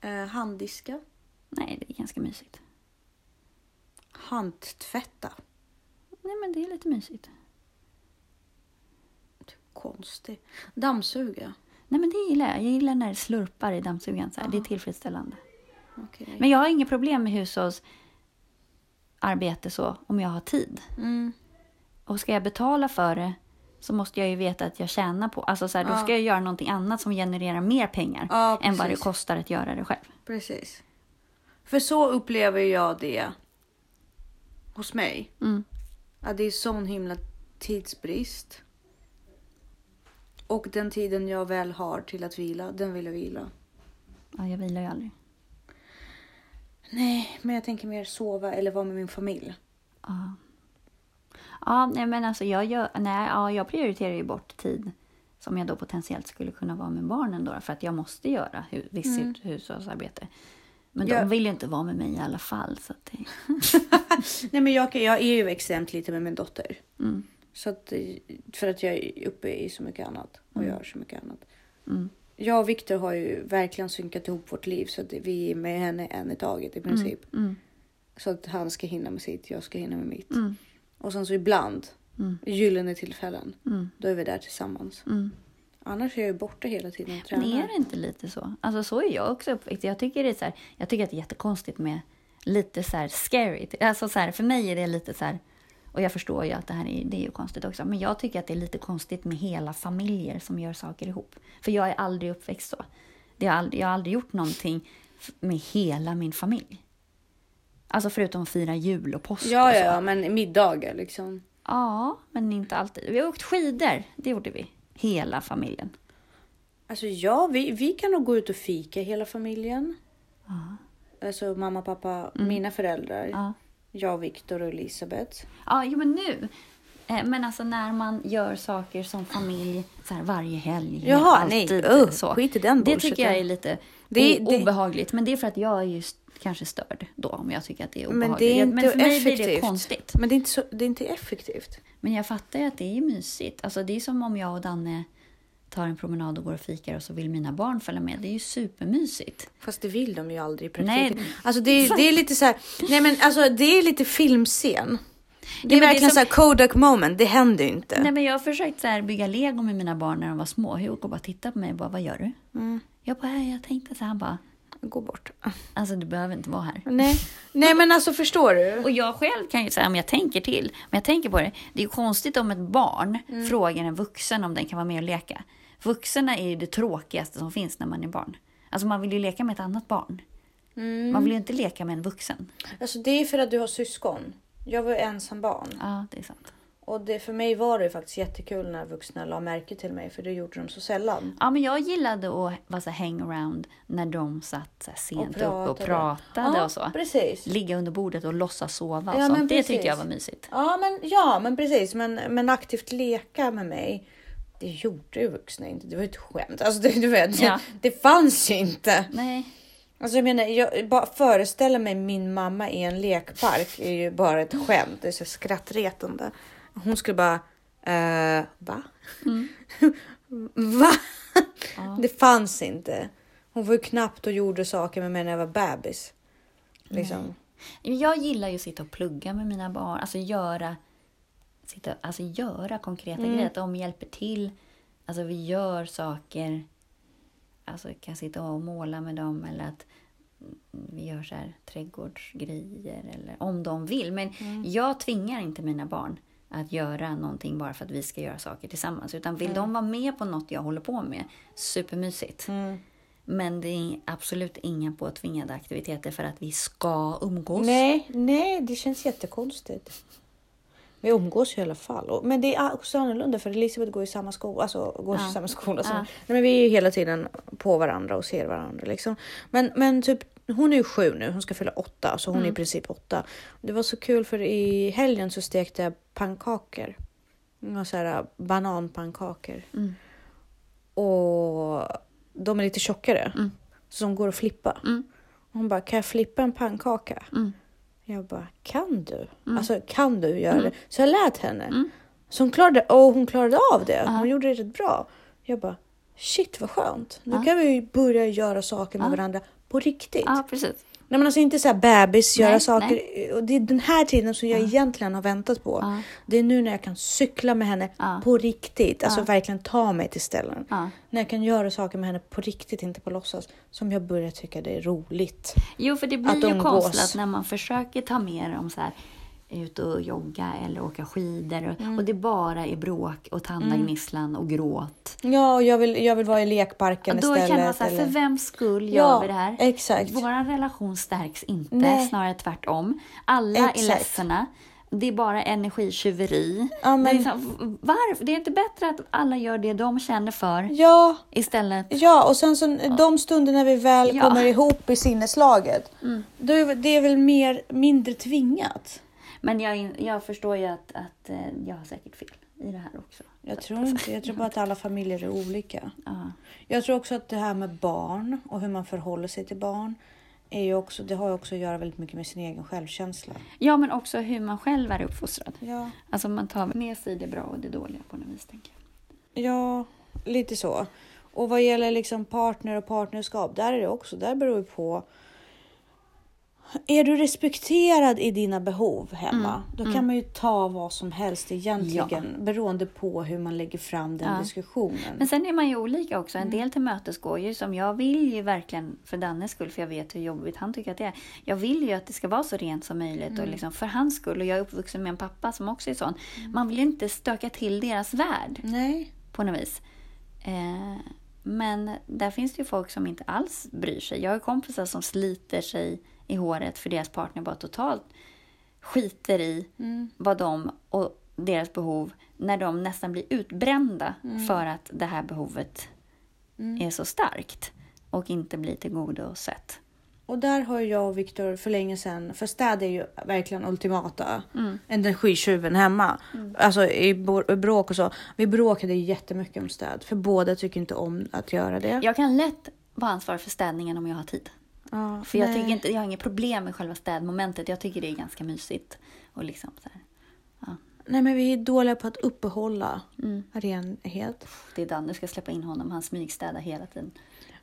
Eh, handdiska.
Nej, det är ganska mysigt.
Handtvätta.
Nej, men det är lite mysigt.
Konstig. Dammsuga.
Nej, men det gillar jag. Jag gillar när det slurpar i dammsugaren. Så här. Det är tillfredsställande.
Okej.
Men jag har inga problem med hushållsarbete så, om jag har tid.
Mm.
Och ska jag betala för det så måste jag ju veta att jag tjänar på... Alltså så här, då
Ja.
ska jag göra någonting annat som genererar mer pengar
Ja,
än vad det
precis.
kostar att göra det själv.
Precis. För så upplever jag det hos mig.
Mm.
Att det är sån himla tidsbrist. Och den tiden jag väl har till att vila, den vill jag vila.
Ja, jag vilar ju aldrig.
Nej, men jag tänker mer sova eller vara med min familj.
Ja. Ja, nej men alltså jag, gör, nej, ja, jag prioriterar ju bort tid som jag då potentiellt skulle kunna vara med barnen då för att jag måste göra hu- visst hushållsarbete. Men
Mm. Ja.
de vill ju inte vara med mig i alla fall. Så att det,
Nej, men jag, kan- jag är ju extremt lite med min dotter.
mm,
Så att, eh, för att jag är uppe i så mycket annat och gör så mycket annat.
mm,
Jag och Viktor har ju verkligen synkat ihop vårt liv så att vi är med henne en i taget i princip.
mm,
Så att han ska hinna med sitt, jag ska hinna med mitt.
mm,
Och sen så ibland,
Mm.
gyllene tillfällen,
mm,
då är vi där tillsammans.
mm.
Annars är jag ju borta hela tiden och
Men är
tränar.
det inte lite så? Alltså så är jag också uppväxt. Jag tycker, det är så här, jag tycker att det är jättekonstigt med lite så här scary. Alltså så här, för mig är det lite så här, och jag förstår ju att det här är, det är ju konstigt också, men jag tycker att det är lite konstigt med hela familjer som gör saker ihop. För jag är aldrig uppväxt så. Det har aldrig, jag har aldrig gjort någonting f- med hela min familj. Alltså förutom att fira jul och påsk och
Ja,
så.
ja, ja, men middagar liksom.
ja, men inte alltid. Vi har åkt skidor, det gjorde vi. Hela familjen.
Alltså ja, vi, vi kan nog gå ut och fika hela familjen.
Ja. Mm.
Alltså mamma, pappa, mina föräldrar.
Ja.
Jag, Viktor och Elisabeth.
Ja, jo, men nu. Eh, Men alltså när man gör saker som familj så här varje helg.
Jaha,
alltid,
nej. Ugh,
så.
skit i den
Det
bullshiten.
tycker jag är lite
Det-
o-
det-
obehagligt. Men det är för att jag är just kanske störd då om jag tycker att det är obehagligt.
Men det är inte
men för mig
effektivt.
blir det konstigt.
Men det är inte, så, det är inte effektivt.
Men jag fattar ju att det är mysigt. Alltså det är som om jag och Danne tar en promenad och går och fikar och så vill mina barn följa med. Det är ju supermysigt.
Fast det vill de ju aldrig i
Nej.
praktiken. Alltså det, är- det är lite så här, nej men alltså det är lite filmscen. Det
men
är
det är
verkligen
som-
så här Kodak moment, det händer ju inte.
Nej, men jag har försökt så här bygga lego med mina barn när de var små. Hugo bara tittade på mig och bara, vad gör du?
Mm.
Jag bara, "Äh, jag tänkte så här bara.
Gå bort.
Alltså du behöver inte vara här.
Nej. nej men alltså förstår du?
Och jag själv kan ju säga, om jag tänker till, men jag tänker på det, det är ju konstigt om ett barn frågar en vuxen om den kan vara med och leka. Vuxna är ju det tråkigaste som finns när man är barn. Alltså man vill ju leka med ett annat barn. Man vill ju inte leka med en vuxen.
Alltså det är för att du har syskon. Jag var ju ensam barn.
Ja, det är sant.
Och det, för mig var det ju faktiskt jättekul när vuxna la märke till mig för det gjorde de så sällan.
Ja, men jag gillade att vara så här hangaround när de satt så här sent uppe och pratade
ja,
och så.
Precis.
Ligga under bordet och låtsas sova och
Ja, men
sånt. Det
precis.
tyckte jag var mysigt.
Ja men, ja, men precis. Men, men aktivt leka med mig. Det gjorde ju vuxna inte. Det var ju ett skämt. Alltså, det, du vet,
Ja.
det, fanns ju inte.
Nej,
Alltså, jag menar, jag bara föreställa mig min mamma i en lekpark är ju bara ett skämt. Det är så skrattretande. Hon skulle bara, eh, va? <laughs> va? Det fanns inte. Hon var ju knappt och gjorde saker med mig när jag var bebis. Liksom.
Men Jag gillar ju att sitta och plugga med mina barn. Alltså göra, sitta, alltså göra konkreta grejer. Att de hjälper till. Alltså vi gör saker. Alltså jag kan sitta och måla med dem eller att vi gör så här trädgårdsgrejer eller om de vill. Men jag tvingar inte mina barn att göra någonting bara för att vi ska göra saker tillsammans. Utan vill de vara med på något jag håller på med, supermysigt.
Mm.
Men det är absolut inga påtvingade aktiviteter för att vi ska umgås.
Nej, nej, det känns jättekonstigt. Vi umgås ju i alla fall. Och- Men det är också annorlunda för Elisabeth går i samma skola. Alltså, går i samma skola som...
Ja.
Nej, men vi är ju hela tiden på varandra och ser varandra. Liksom. Men, men typ, hon är ju sju nu, hon ska fylla åtta. Så hon
Mm.
är i princip åtta. Det var så kul för i helgen så stekte jag pannkakor. Några Så här, eh, bananpannkakor.
Mm.
Och de är lite tjockare. Så de går att flippa.
Mm.
Och Hon bara, kan jag flippa en pannkaka?
Mm.
Jag bara, kan du? Alltså kan du göra
Mm.
det? Så jag lät henne. Så hon klarade, och hon klarade av det. Hon gjorde det rätt bra. Jag bara, shit vad skönt. Nu kan vi ju börja göra saker med varandra på riktigt.
Ja, precis.
Nej men alltså inte så här bebis, göra
Nej,
saker. Och det är den här tiden som jag egentligen har väntat på.
Ja.
Det är nu när jag kan cykla med henne
Ja.
på riktigt. Alltså verkligen ta mig till ställen.
Ja.
När jag kan göra saker med henne på riktigt, inte på låtsas. Som jag börjar tycka det är roligt.
Jo, för det
Att
blir ju
umgås.
konstlat när man försöker ta med dem så här ut och jogga eller åka skidor och,
Mm.
och det bara är bråk och tandagnisslan och gråt.
Ja, och jag vill, jag vill vara i lekparken
Och då
istället.
känner man så här,
eller-
för vems skull gör
Ja,
vi det här?
exakt.
Vår relation stärks inte,
Nej.
snarare tvärtom. Alla
Exakt.
är ledsna. Det är bara energitjuveri.
Ja, men-
det, är liksom, varför? det är inte bättre att alla gör det de känner för
Ja,
istället?
ja, och sen så de stunder när vi väl
Ja. Mm.
kommer ihop i sinneslaget. Då är det är väl mer, mindre tvingat.
Men jag, in- jag förstår ju att, att eh, jag har säkert fel i det här också.
Jag tror inte, jag tror bara att alla familjer är olika.
Ja.
Jag tror också att det här med barn och hur man förhåller sig till barn. Är ju också, det har ju också att göra väldigt mycket med sin egen självkänsla.
Ja, men också hur man själv är uppfostrad.
Ja.
Alltså man tar med sig det bra och det dåliga på något vis. Tänker jag.
Ja, lite så. Och vad gäller liksom partner och partnerskap, där är det också, där beror det på. Är du respekterad i dina behov hemma,
Mm,
då kan man ju ta vad som helst egentligen beroende på hur man lägger fram den
Ja.
diskussionen.
Men sen är man ju olika också. En del tillmötesgår ju som jag vill ju verkligen för Dannes skull, för jag vet hur jobbigt han tycker att det är. Jag vill ju att det ska vara så rent som möjligt och liksom för hans skull. Och jag är uppvuxen med en pappa som också är sån. Man vill inte stöka till deras värld
Nej,
på något vis. Eh, men där finns det ju folk som inte alls bryr sig. Jag har ju kompisar som sliter sig i håret för deras partner bara totalt skiter i vad de och deras behov när de nästan blir utbrända för att det här behovet är så starkt och inte blir tillgodosett.
och där har ju jag och Viktor för länge sedan, för städ är ju verkligen ultimata
Mm.
energitjuven hemma. Alltså i bo- bråk och så. Vi bråkade ju jättemycket om städ, för båda tycker inte om att göra det.
Jag kan lätt vara ansvarig för städningen om jag har tid.
Ja,
För jag,
nej.
tycker inte, jag har inget problem med själva städmomentet. Jag tycker det är ganska mysigt. Och liksom så här.
Nej, men vi är dåliga på att uppehålla
Mm.
renhet.
Det är Dan, du ska släppa in honom. Han smygstädar hela tiden.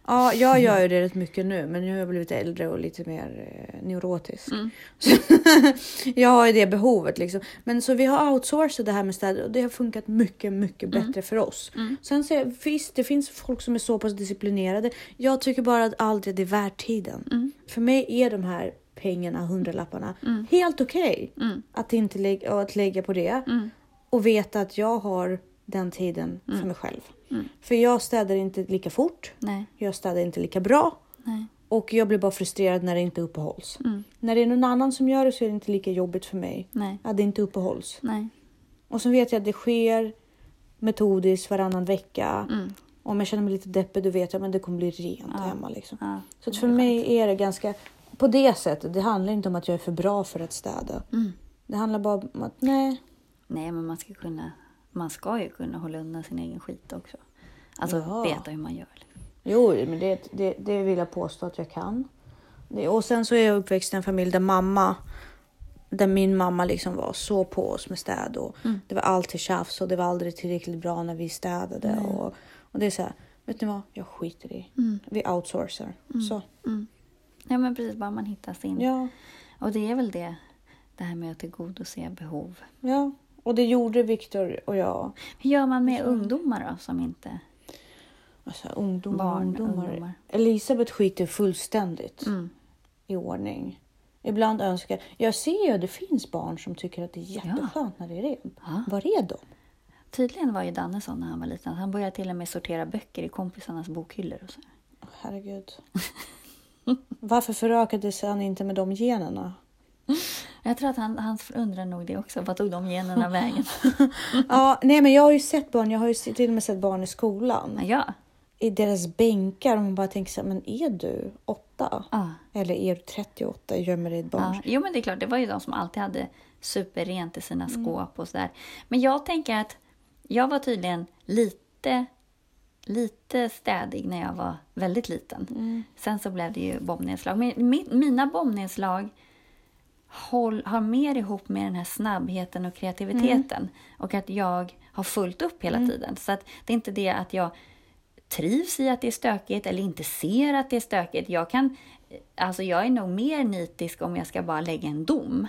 Ja, jag gör ju det rätt mycket nu, men nu har jag blivit äldre och lite mer eh, neurotisk. Så, <laughs> jag har ju det behovet liksom. Men så vi har outsourcat det här med städer och det har funkat mycket, mycket bättre för oss. Sen så är- visst, det finns folk som är så pass disciplinerade. Jag tycker bara att aldrig det är värt tiden. För mig är de här pengarna, hundralapparna, helt okej att inte lägga, och att lägga på det. Och veta att jag har den tiden för mig själv. För jag städar inte lika fort.
Nej,
Jag städar inte lika bra
nej.
och jag blir bara frustrerad när det inte uppehålls. När det är någon annan som gör det så är det inte lika jobbigt för mig.
Nej.
Att det inte uppehålls.
Nej.
Och så vet jag att det sker metodiskt varannan vecka.
Mm.
Om jag känner mig lite deppig då vet jag att det kommer bli rent hemma. Liksom.
Ja.
Så att för mig är det ganska på det sättet. Det handlar inte om att jag är för bra för att städa.
Mm.
Det handlar bara om att nej.
Nej, men man ska, kunna, man ska ju kunna hålla undan sin egen skit också. Alltså
Ja.
veta hur man gör. liksom.
Jo, men det, det, det vill jag påstå att jag kan. Det, och sen så är jag uppväxt i en familj där mamma, där min mamma liksom var så på oss med städ och det var alltid tjafs och det var aldrig tillräckligt bra när vi städade och, och det är så här. Vet ni vad? Jag skiter i. Vi outsourcar. Så
Mm. Ja, men precis. Bara man hittar sin.
ja,
Och det är väl det. Det här med att tillgodose behov.
ja, och det gjorde Viktor och jag.
Hur gör man med ungdomar då som inte...
Alltså ungdomar,
Barn,
ungdomar.
ungdomar. Mm.
Elisabeth skiter fullständigt i ordning. Ibland önskar jag... ser ju att det finns barn som tycker att det är jätteskönt när det är rent.
Ja.
Var är de?
Tydligen var ju Danne sån när han var liten. Han började till och med sortera böcker i kompisarnas bokhyllor och så. här.
Åh, <laughs> Herregud. Varför förökades han inte med de generna?
Jag tror att han, han undrar nog det också. Vad tog de generna <laughs> vägen?
Ja, nej men jag har ju sett barn, jag har ju till och med sett barn i skolan.
ja.
I deras bänkar och man bara tänker så här, men är du åtta?
Ja.
Eller är du 38 gömmer dig i ett barn?
ja. Jo, men det är klart. Det var ju de som alltid hade superrent i sina skåp och sådär. Men jag tänker att jag var tydligen lite, lite städig när jag var väldigt liten. Sen så blev det ju bombnedslag. Men mi- mina bombnedslag håll, har mer ihop med den här snabbheten och kreativiteten. Och att jag har fullt upp hela tiden. Så att det är inte det att jag trivs i att det är stökigt eller inte ser att det är stökigt. Jag, kan, alltså jag är nog mer nitisk om jag ska bara lägga en dom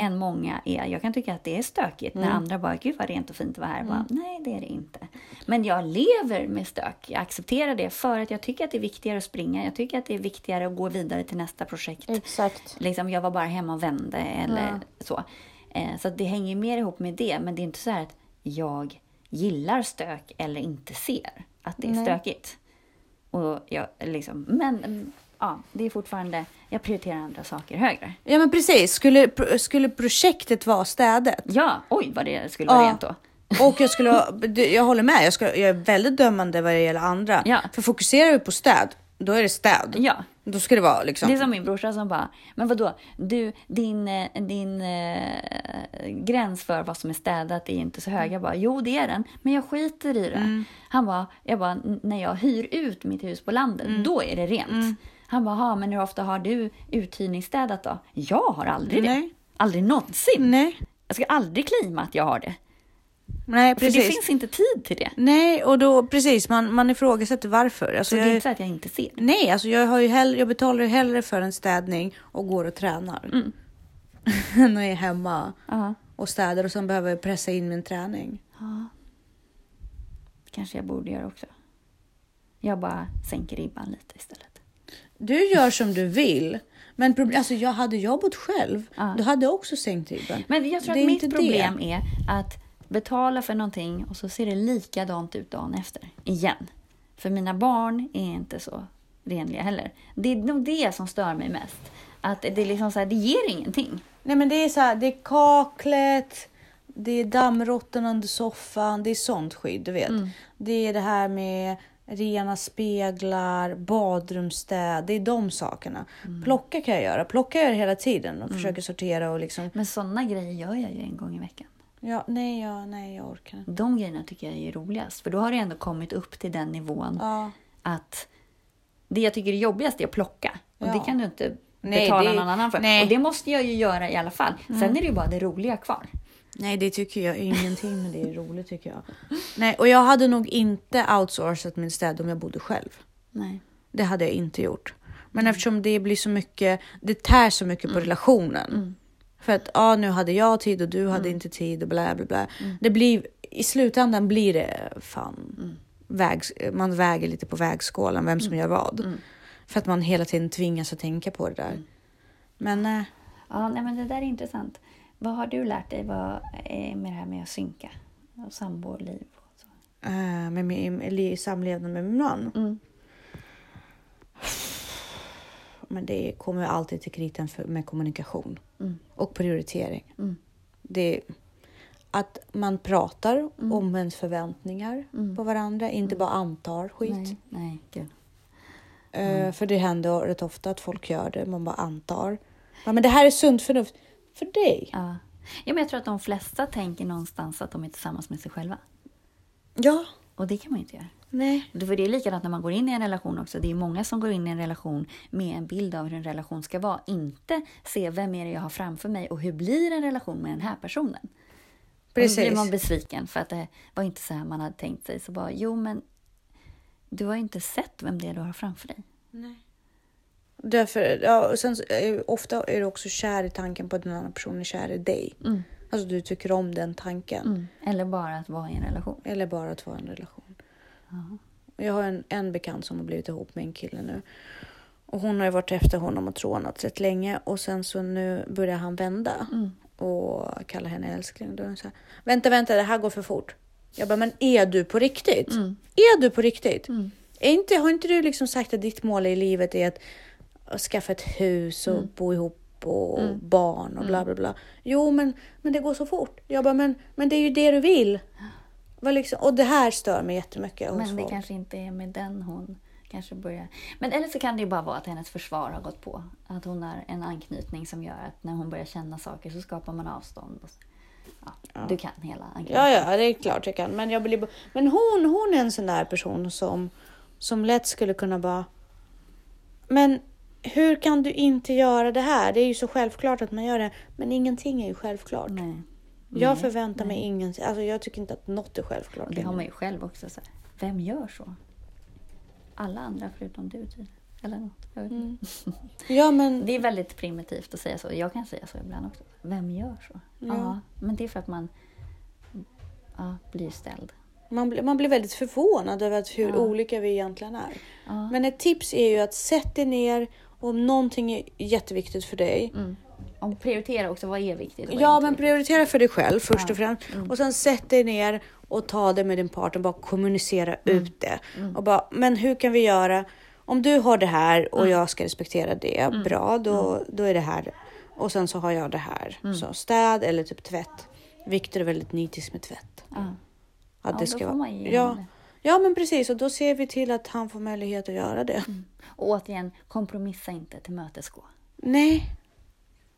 än många är. Jag kan tycka att det är stökigt när andra bara, gud vad rent och fint det var här. Jag Bara, Nej, det är det inte. Men jag lever med stök. Jag accepterar det för att jag tycker att det är viktigare att springa. Jag tycker att det är viktigare att gå vidare till nästa projekt.
Exakt.
Liksom, jag var bara hemma och vände eller så. Eh, så att det hänger ju mer ihop med det. Men det är inte så här att jag gillar stök eller inte ser att det är stökigt. Och jag, liksom, men mm, ja, det är fortfarande, jag prioriterar andra saker högre.
Ja men precis, skulle, pro- skulle projektet vara städat?
Ja, oj vad det skulle vara
Ja.
rent då.
Och jag skulle, ha- det- jag håller med, jag, ska, jag är väldigt dömande vad det gäller andra.
Ja.
För fokuserar du på städ, då är det städ.
Ja,
Då ska det vara liksom.
Det är som min brorsa som bara, men vadå, du, din, eh, din eh, gräns för vad som är städat är inte så hög. Jag bara, jo det är den, men jag skiter i det. Han bara, jag bara, "N- när jag hyr ut mitt hus på landet, då är det rent. Han bara, "Ha, men hur ofta har du uthyrningsstädat då? Jag har aldrig det.
Nej.
Aldrig någonsin.
Nej,
Jag ska aldrig klima att jag har det.
nej
För
precis.
det finns inte tid till det.
Nej, och då precis, man, man ifrågasätter varför. Alltså,
Så det är
jag,
inte så att jag inte ser.
Nej, alltså jag, har ju hell, jag betalar ju hellre för en städning och går och tränar.
Mm.
<laughs> än att är hemma
Ja,
och städar och sen behöver jag pressa in min träning.
kanske jag borde göra också. Jag bara sänker ribban lite istället.
Du gör som du vill. Men problem, alltså jag hade jag bott själv,
Ja.
då hade jag också sänkt ribban.
Men jag tror
Det är
att
inte
mitt
det.
problem är att betala för någonting och så ser det likadant ut dagen efter. Igen. För mina barn är inte så renliga heller. Det är nog det som stör mig mest. Att det är liksom så här, det ger ingenting.
Nej men det är så här, det är kaklet, det är dammråttorna under soffan, det är sånt skit, du vet.
Mm.
Det är det här med rena speglar, badrumsstäd, det är de sakerna.
Mm.
Plocka kan jag göra, plocka gör jag hela tiden och försöker sortera och liksom,
Men sådana grejer gör jag ju en gång i veckan.
ja, nej, ja, nej, jag orkar inte.
De grejerna tycker jag är roligast. För då har det ändå kommit upp till den nivån
Ja.
att det jag tycker är jobbigast är att plocka. Och
Ja.
det kan du inte
Nej,
betala
det-
någon annan för.
nej. Mm.
Och det måste jag ju göra i alla fall. Sen är det ju bara det roliga kvar.
Nej, det tycker jag är ingenting, men det är roligt tycker jag. Nej, och jag hade nog inte outsourcat min städ om jag bodde själv.
Nej.
Det hade jag inte gjort. Men eftersom det blir så mycket, det tär så mycket på relationen.
Mm.
För att ja, nu hade jag tid och du hade inte tid och bla bla bla. Det blir, I slutändan blir det fan, vägs, man väger lite på vägskålen vem som gör vad. För att man hela tiden tvingas att tänka på det där. Men eh, nej.
Ja, nej, men det där är intressant. Vad har du lärt dig vad, eh, med det här med att synka? Och samboliv och så.
eh, med min, eller i samlevnad med min man.
Mm.
Men det kommer alltid till kritan för, med kommunikation
Mm.
och prioritering.
Mm.
Det, att man pratar om ens förväntningar på varandra, inte bara antar skit.
Nej, nej, gud.
Eh, För det händer rätt ofta att folk gör det, man bara antar. Ja, men det här är sunt förnuft för dig.
Ja. Ja, men jag tror att de flesta tänker någonstans att de är tillsammans med sig själva.
Ja,
Och det kan man ju inte göra.
nej.
Det- För det är likadant när man går in i en relation också. Det är många som går in i en relation med en bild av hur en relation ska vara. Inte se vem är det jag har framför mig och hur blir en relation med den här personen. Och då
Precis.
blir man besviken för att det var inte så här man hade tänkt sig. Så bara, jo men du har ju inte sett vem det är du har framför dig.
Därför, ja, och sen, så är ju- ofta är du också kär i tanken på att den andra personen är kär i dig.
Mm.
Alltså du tycker om den tanken.
Eller bara att vara i en relation.
Eller bara att vara i en relation. Jag har en, en bekant som har blivit ihop med en kille nu. Och hon har ju varit efter honom och trånat rätt länge. Och sen så nu börjar han vända. Och kallar henne älskling. Då är hon så här, vänta, vänta, det här går för fort. Jag bara, men är du på riktigt?
Mm.
Är du på riktigt? Är
Mm.
inte, har inte du liksom sagt att ditt mål i livet är att skaffa ett hus och bo ihop kropp och barn och bla bla bla. Jo, men, men det går så fort. Jag bara, men, men det är ju det du vill. Var liksom, och det här stör mig jättemycket hos
Men det
folk.
kanske inte är med den hon kanske börjar... Men eller så kan det ju bara vara att hennes försvar har gått på. Att hon har en anknytning som gör att när hon börjar känna saker så skapar man avstånd. Och så. Ja, Du kan hela anknytningen.
Ja, ja, det är klart jag kan. Men, jag blir, men hon, hon är en sån där person som, som lätt skulle kunna bara... Men hur kan du inte göra det här? Det är ju så självklart att man gör det. Men ingenting är ju självklart.
Nej.
Jag förväntar mig ingenting. Alltså, jag tycker inte att något är självklart.
Och det har man ju själv också. Så här. Vem gör så? Alla andra förutom du tydligen. Eller något. Jag vet inte.
Ja, men...
Det är väldigt primitivt att säga så. Jag kan säga så ibland också. Vem gör så? Ja, men det är för att man ja, blir ställd.
Man, blir- man blir väldigt förvånad över att hur olika vi egentligen är. Men ett tips är ju att sätt dig ner och om någonting är jätteviktigt för dig.
Mm. Och prioritera också. Vad är viktigt? och vad
Ja,
inte Mm.
men prioritera för dig själv först och främst. Och sen sätt dig ner och ta det med din partner. Bara kommunicera
Mm.
ut det. Och bara, men hur kan vi göra? Om du har det här och
Mm.
jag ska respektera det, bra, då, då är det här. Och sen så har jag det här.
Mm.
Så städ eller typ tvätt. Viktor är väldigt nitisk med tvätt.
Ja.
Att
Ja,
det
då
ska
får
vara-
man ge
ja.
honom det.
ja, men precis. Och då ser vi till att han får möjlighet att göra det.
Mm. Och återigen, kompromissa inte, tillmötesgå.
Nej.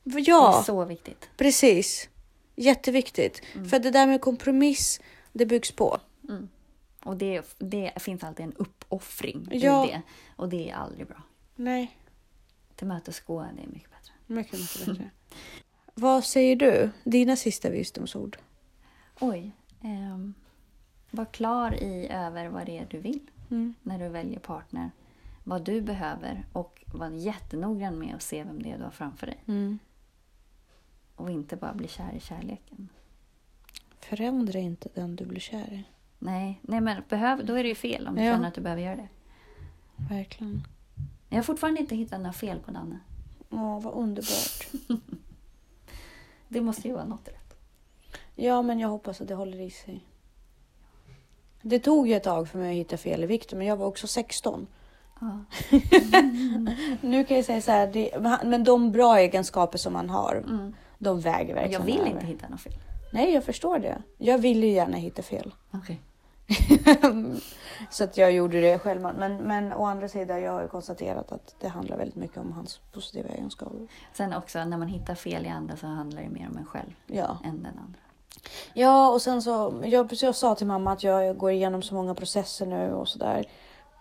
Ja.
Det är så viktigt.
Precis. Jätteviktigt. För det där med kompromiss, det byggs på.
Mm. Och det, det finns alltid en uppoffring
Ja.
i det. Och det är aldrig bra.
Nej,
Tillmötesgå, det är mycket bättre.
mycket, <laughs> mycket bättre. Vad säger du? Dina sista visdomsord?
Oj. ehm, var klar i över vad det är du vill
Mm.
när du väljer partner. Vad du behöver och var jättenoggrann med att se vem det är du har framför dig.
Mm.
Och inte bara bli kär i kärleken.
Förändra inte den du blir kär i.
Nej, nej men behöv, då är det ju fel om du
Ja.
känner att du behöver göra det.
Verkligen.
Jag har fortfarande inte hittat några fel på Danne.
Åh, vad underbart.
Det måste ju vara något rätt.
Ja, men jag hoppas att det håller i sig. Det tog ju ett tag för mig att hitta fel i Viktor, men jag var också 16.
Ja.
Nu kan jag säga så här, det, men han- men de bra egenskaper som man har, de väger verkligen
Mm. Jag vill
över.
inte hitta något fel.
Nej, jag förstår det. Jag vill ju gärna hitta fel.
Okej.
så att jag gjorde det själv. Men, men å andra sidan, jag har ju konstaterat att det handlar väldigt mycket om hans positiva egenskaper.
Sen också, när man hittar fel i andra så handlar det mer om en själv
Ja.
än den andra.
ja, och sen så, jag, precis jag sa till mamma att jag går igenom så många processer nu och sådär.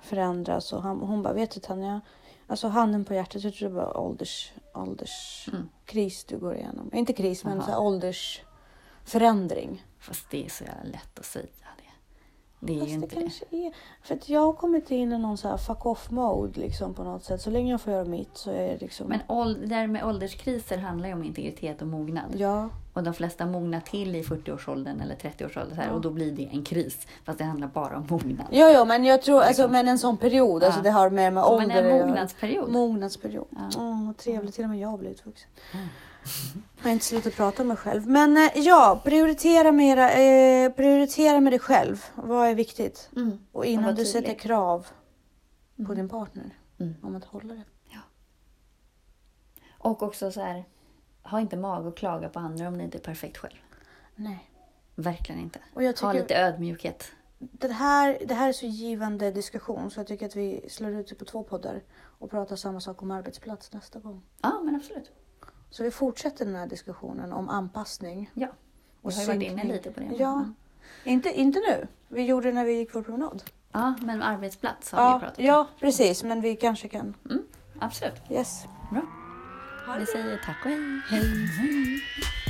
Förändras och han, hon bara, vet du Tanja, alltså handen på hjärtat, jag tror det var ålders, ålderskris du går igenom. Inte kris, men
Jaha.
så här åldersförändring.
Fast det är så jävla lätt att säga det. Det är
Fast
ju
det
inte det.
kanske är... För att jag har kommit in i någon så här fuck off mode liksom på något sätt. Så länge jag får göra mitt så är det liksom...
Men åld- det där med ålderskriser handlar ju om integritet och mognad.
Ja.
Och de flesta mognar till i 40-årsåldern eller 30-årsåldern så här, och då blir det en kris. Fast det handlar bara om mognad.
Ja, ja, men jag tror alltså, men en sån period, alltså
Liksom. Ja.
det har mer med
Ja,
ålder
men en
att göra.
mognadsperiod.
Mognadsperiod. Åh, vad trevligt, till och med jag har blivit vuxen.
Mm.
Jag har inte slutat prata om mig själv. Men eh, ja, prioritera med, era, eh, prioritera med dig själv. Vad är viktigt?
Mm.
Och innan
Och
du
var tydlig.
sätter krav på din partner
Mm.
om att hålla det.
Och också så här, ha inte mag att klaga på andra om ni inte är perfekt själv.
Nej.
Verkligen inte.
Och jag
Ha
tycker-
lite ödmjukhet.
Det här, det här är så givande diskussion så jag tycker att vi slår ut det på två poddar och pratar samma sak om arbetsplats nästa gång.
Ja, men absolut.
Så vi fortsätter den här diskussionen om anpassning.
Ja.
Och
Vi har ju varit
synkning.
inne lite på det. men-
Ja. Inte, inte nu. Vi gjorde det när vi gick vår promenad.
ja, men arbetsplats har vi
Ja,
pratat om.
ja, precis. Men vi kanske kan.
Mm, absolut.
Yes.
Bra. Vi säger tack och hej. Hej. hej.